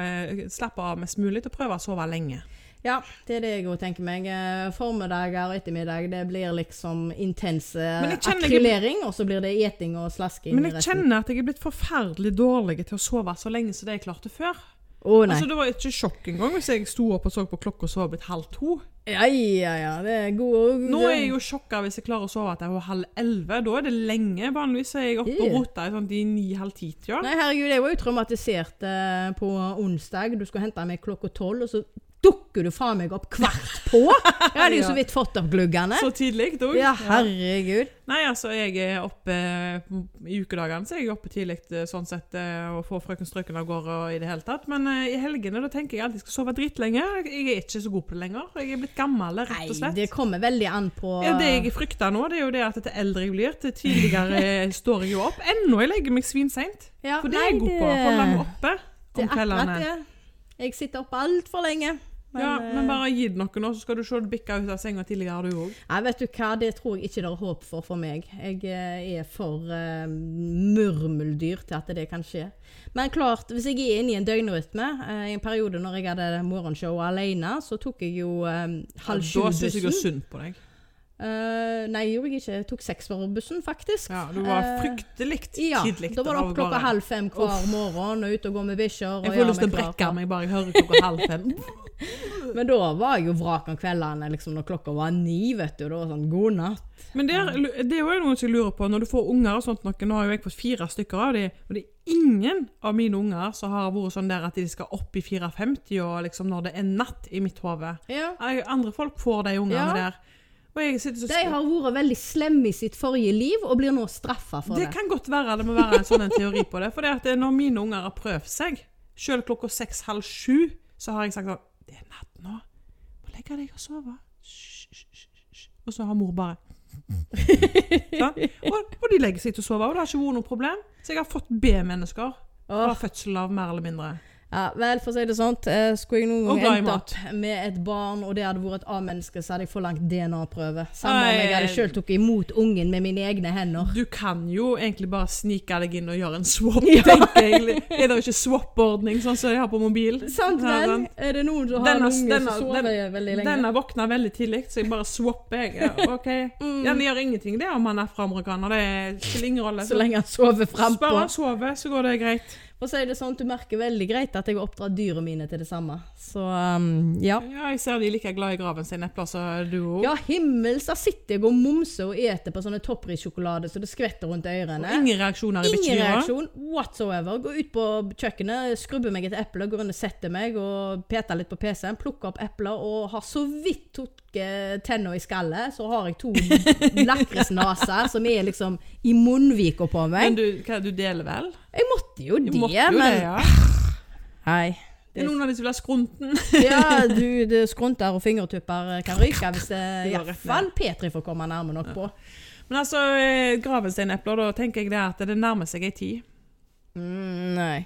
[SPEAKER 2] eh, slappe av mest mulig og prøve å sove lenge.
[SPEAKER 1] Ja, det er det jeg òg tenker meg. Eh, Formiddager og ettermiddag det blir liksom intens eh,
[SPEAKER 2] Men jeg kjenner-
[SPEAKER 1] akrylering, og så blir det eting og slasking.
[SPEAKER 2] Men jeg
[SPEAKER 1] resten.
[SPEAKER 2] kjenner at jeg er blitt forferdelig dårlig til å sove så lenge som det jeg klarte før.
[SPEAKER 1] Å nei.
[SPEAKER 2] Altså, det var ikke sjokk engang hvis jeg sto opp og så på klokka og sov blitt halv to.
[SPEAKER 1] ja, ja, ja. Det er god
[SPEAKER 2] Nå er jeg jo sjokka hvis jeg klarer å sove til halv elleve. Da er det lenge. Vanligvis er jeg oppe og
[SPEAKER 1] Ja.
[SPEAKER 2] roter i sånn de ni-halv ti-tida.
[SPEAKER 1] Nei, herregud, jeg var jo traumatisert eh, på onsdag. Du skulle hente meg klokka tolv, og så dukker du faen meg opp kvart
[SPEAKER 2] <laughs>
[SPEAKER 1] på! Jeg hadde jo så vidt fått opp gluggene.
[SPEAKER 2] Så tidlig dog.
[SPEAKER 1] Ja, herregud.
[SPEAKER 2] Nei, altså, jeg er oppe mm, i ukedagene, så er jeg oppe tidlig eh, sånn sett eh, og får frøken Strøken av gårde og i det hele tatt. Men eh, i helgene da tenker jeg alltid jeg skal sove dritlenge. Jeg er ikke så god på det lenger. Jeg er blitt gammel,
[SPEAKER 1] Nei,
[SPEAKER 2] rett og slett.
[SPEAKER 1] det kommer veldig an på
[SPEAKER 2] Ja, det jeg frykter nå, det er jo det at etter eldre jeg blir, til
[SPEAKER 1] <laughs>
[SPEAKER 2] tidligere står jeg jo opp. Ennå jeg legger meg svinseint.
[SPEAKER 1] Ja,
[SPEAKER 2] For det er jeg
[SPEAKER 1] nei,
[SPEAKER 2] god på.
[SPEAKER 1] det-
[SPEAKER 2] Holde meg oppe
[SPEAKER 1] det
[SPEAKER 2] om
[SPEAKER 1] er akkurat
[SPEAKER 2] kveldene.
[SPEAKER 1] det. Jeg sitter oppe altfor lenge. Men,
[SPEAKER 2] ja,
[SPEAKER 1] eh,
[SPEAKER 2] men bare gi det noe nå, så skal du se det bikke ut av senga tidligere, du òg.
[SPEAKER 1] Nei, vet du hva, det tror jeg ikke det er håp for for meg. Jeg eh, er for eh, murmeldyr til at det kan skje. Men klart, hvis jeg er inne i en døgnrytme eh, I en periode når jeg hadde morgenshow alene, så tok jeg jo eh, halv
[SPEAKER 2] Da syns jeg jo
[SPEAKER 1] sju-bussen.
[SPEAKER 2] synd på deg.
[SPEAKER 1] Eh, nei, gjorde jeg ikke. Jeg tok seksårsbussen, faktisk.
[SPEAKER 2] Ja, Du var
[SPEAKER 1] Eh,
[SPEAKER 2] fryktelig
[SPEAKER 1] ja,
[SPEAKER 2] tidlig
[SPEAKER 1] da var det opp klokka halv fem hver morgen og ute og gå med bikkjer. og
[SPEAKER 2] Jeg får
[SPEAKER 1] gjøre
[SPEAKER 2] lyst til å
[SPEAKER 1] meg klar
[SPEAKER 2] brekke
[SPEAKER 1] for-
[SPEAKER 2] meg bare jeg hører klokka halv
[SPEAKER 1] <laughs>
[SPEAKER 2] fem.
[SPEAKER 1] Men da var jeg jo vrak om kveldene liksom, når klokka var ni, vet du. Da var det sånn god natt.
[SPEAKER 2] Men det er, det er jo noe jeg lurer på, når du får unger og sånt noe, nå har jo jeg fått fire stykker av de, og det er ingen av mine unger som har vært sånn der at de skal opp i 4.50 og liksom når det er natt i mitt hode.
[SPEAKER 1] Ja.
[SPEAKER 2] Jeg- Andre folk får de ungene
[SPEAKER 1] Ja.
[SPEAKER 2] der. Og jeg sitter så
[SPEAKER 1] De har vært veldig slemme i sitt forrige liv og blir nå straffa for
[SPEAKER 2] Det
[SPEAKER 1] det.
[SPEAKER 2] kan godt være det må være en sånn en teori på det. For det at det er når mine unger har prøvd seg, sjøl klokka seks, halv sju, så har jeg sagt sånn Det er natt nå. Må legge deg og sove. Hysj, hysj, hysj, hysj. Og så har mor bare <laughs> Sant? og, og de legger seg til å sove, og det har ikke vært noe problem. Så jeg har fått B-mennesker fra
[SPEAKER 1] Åh,
[SPEAKER 2] fødsel av, mer eller mindre.
[SPEAKER 1] Ja, vel, for å si det sånn, eh, skulle jeg noen
[SPEAKER 2] Og
[SPEAKER 1] gang
[SPEAKER 2] glad i
[SPEAKER 1] endt
[SPEAKER 2] mat.
[SPEAKER 1] opp med et barn, og det hadde vært et A-menneske, så hadde jeg forlangt DNA-prøve. Samme om jeg
[SPEAKER 2] Nei.
[SPEAKER 1] hadde sjøl tatt imot ungen med mine egne hender.
[SPEAKER 2] Du kan jo egentlig bare snike deg inn og gjøre en swap, tenker jeg. Er det ikke swap-ordning, sånn som de har på mobil?
[SPEAKER 1] Sant
[SPEAKER 2] Ja, sånn.
[SPEAKER 1] vel?
[SPEAKER 2] sant.
[SPEAKER 1] Er det noen som har en
[SPEAKER 2] Denne-
[SPEAKER 1] unge som
[SPEAKER 2] denne-
[SPEAKER 1] sover veldig lenge?
[SPEAKER 2] Denne våkna veldig tidlig, så jeg bare swapper,
[SPEAKER 1] <laughs>
[SPEAKER 2] jeg. OK.
[SPEAKER 1] Mm.
[SPEAKER 2] Den gjør ingenting, det, om han er afroamerikaner. Det spiller ingen rolle.
[SPEAKER 1] Så lenge han sover frampå.
[SPEAKER 2] Bare han sover, så går det greit.
[SPEAKER 1] For å si det sånn, du merker veldig greit at jeg har oppdratt dyra mine til det samme. Så um, ja.
[SPEAKER 2] Ja, jeg ser de er like glad i graven sin, epler som du òg.
[SPEAKER 1] Ja, himmels, da sitter jeg og momser og eter på sånne topprissjokolade så det skvetter rundt ørene.
[SPEAKER 2] Ingen reaksjoner i
[SPEAKER 1] eh, Ingen
[SPEAKER 2] bikkjedyra.
[SPEAKER 1] reaksjon whatsoever. Gå ut på kjøkkenet, skrubbe meg et eple, gå rundt og sette meg og pete litt på PC-en, plukke opp epler og har så vidt tatt tenna i skallet, så har jeg
[SPEAKER 2] <laughs>
[SPEAKER 1] to lakrisnaser som er liksom i munnvika på
[SPEAKER 2] Men
[SPEAKER 1] meg.
[SPEAKER 2] du, hva, du deler vel?
[SPEAKER 1] Jeg måtte jo
[SPEAKER 2] Du
[SPEAKER 1] det,
[SPEAKER 2] måtte jo det,
[SPEAKER 1] men
[SPEAKER 2] ja.
[SPEAKER 1] Nei.
[SPEAKER 2] Det er noen av de som vil ha skrunten. <laughs>
[SPEAKER 1] Ja, du, det skrunter og fingertupper kan ryke hvis det
[SPEAKER 2] <laughs> Det går rett
[SPEAKER 1] iallfall Petri får komme nærme nok på.
[SPEAKER 2] Men altså, eh, gravensteinepler, da tenker jeg det at det nærmer seg ei tid.
[SPEAKER 1] Mm, nei.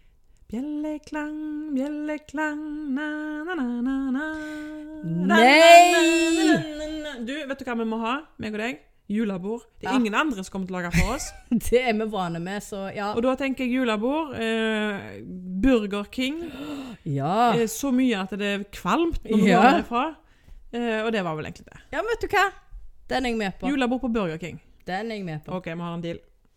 [SPEAKER 1] <laughs>
[SPEAKER 2] Bjelleklang, bjelleklang, na-na-na-na
[SPEAKER 1] Nei!
[SPEAKER 2] Du, vet du hva vi må ha, meg og deg? Julebord. Det er
[SPEAKER 1] Ja.
[SPEAKER 2] ingen andre som kommer til å lage for oss.
[SPEAKER 1] Det er vi vane med, så <laughs> ja.
[SPEAKER 2] Og da tenker jeg julebord. Eh, Burger King.
[SPEAKER 1] Ja,
[SPEAKER 2] Eh, så mye at det er kvalmt når vi
[SPEAKER 1] Ja.
[SPEAKER 2] går derfra. Eh, og det var vel egentlig det.
[SPEAKER 1] ja vet du hva? Den er jeg med på.
[SPEAKER 2] Julebord på Burger King.
[SPEAKER 1] Den er jeg med på.
[SPEAKER 2] OK, vi har en deal.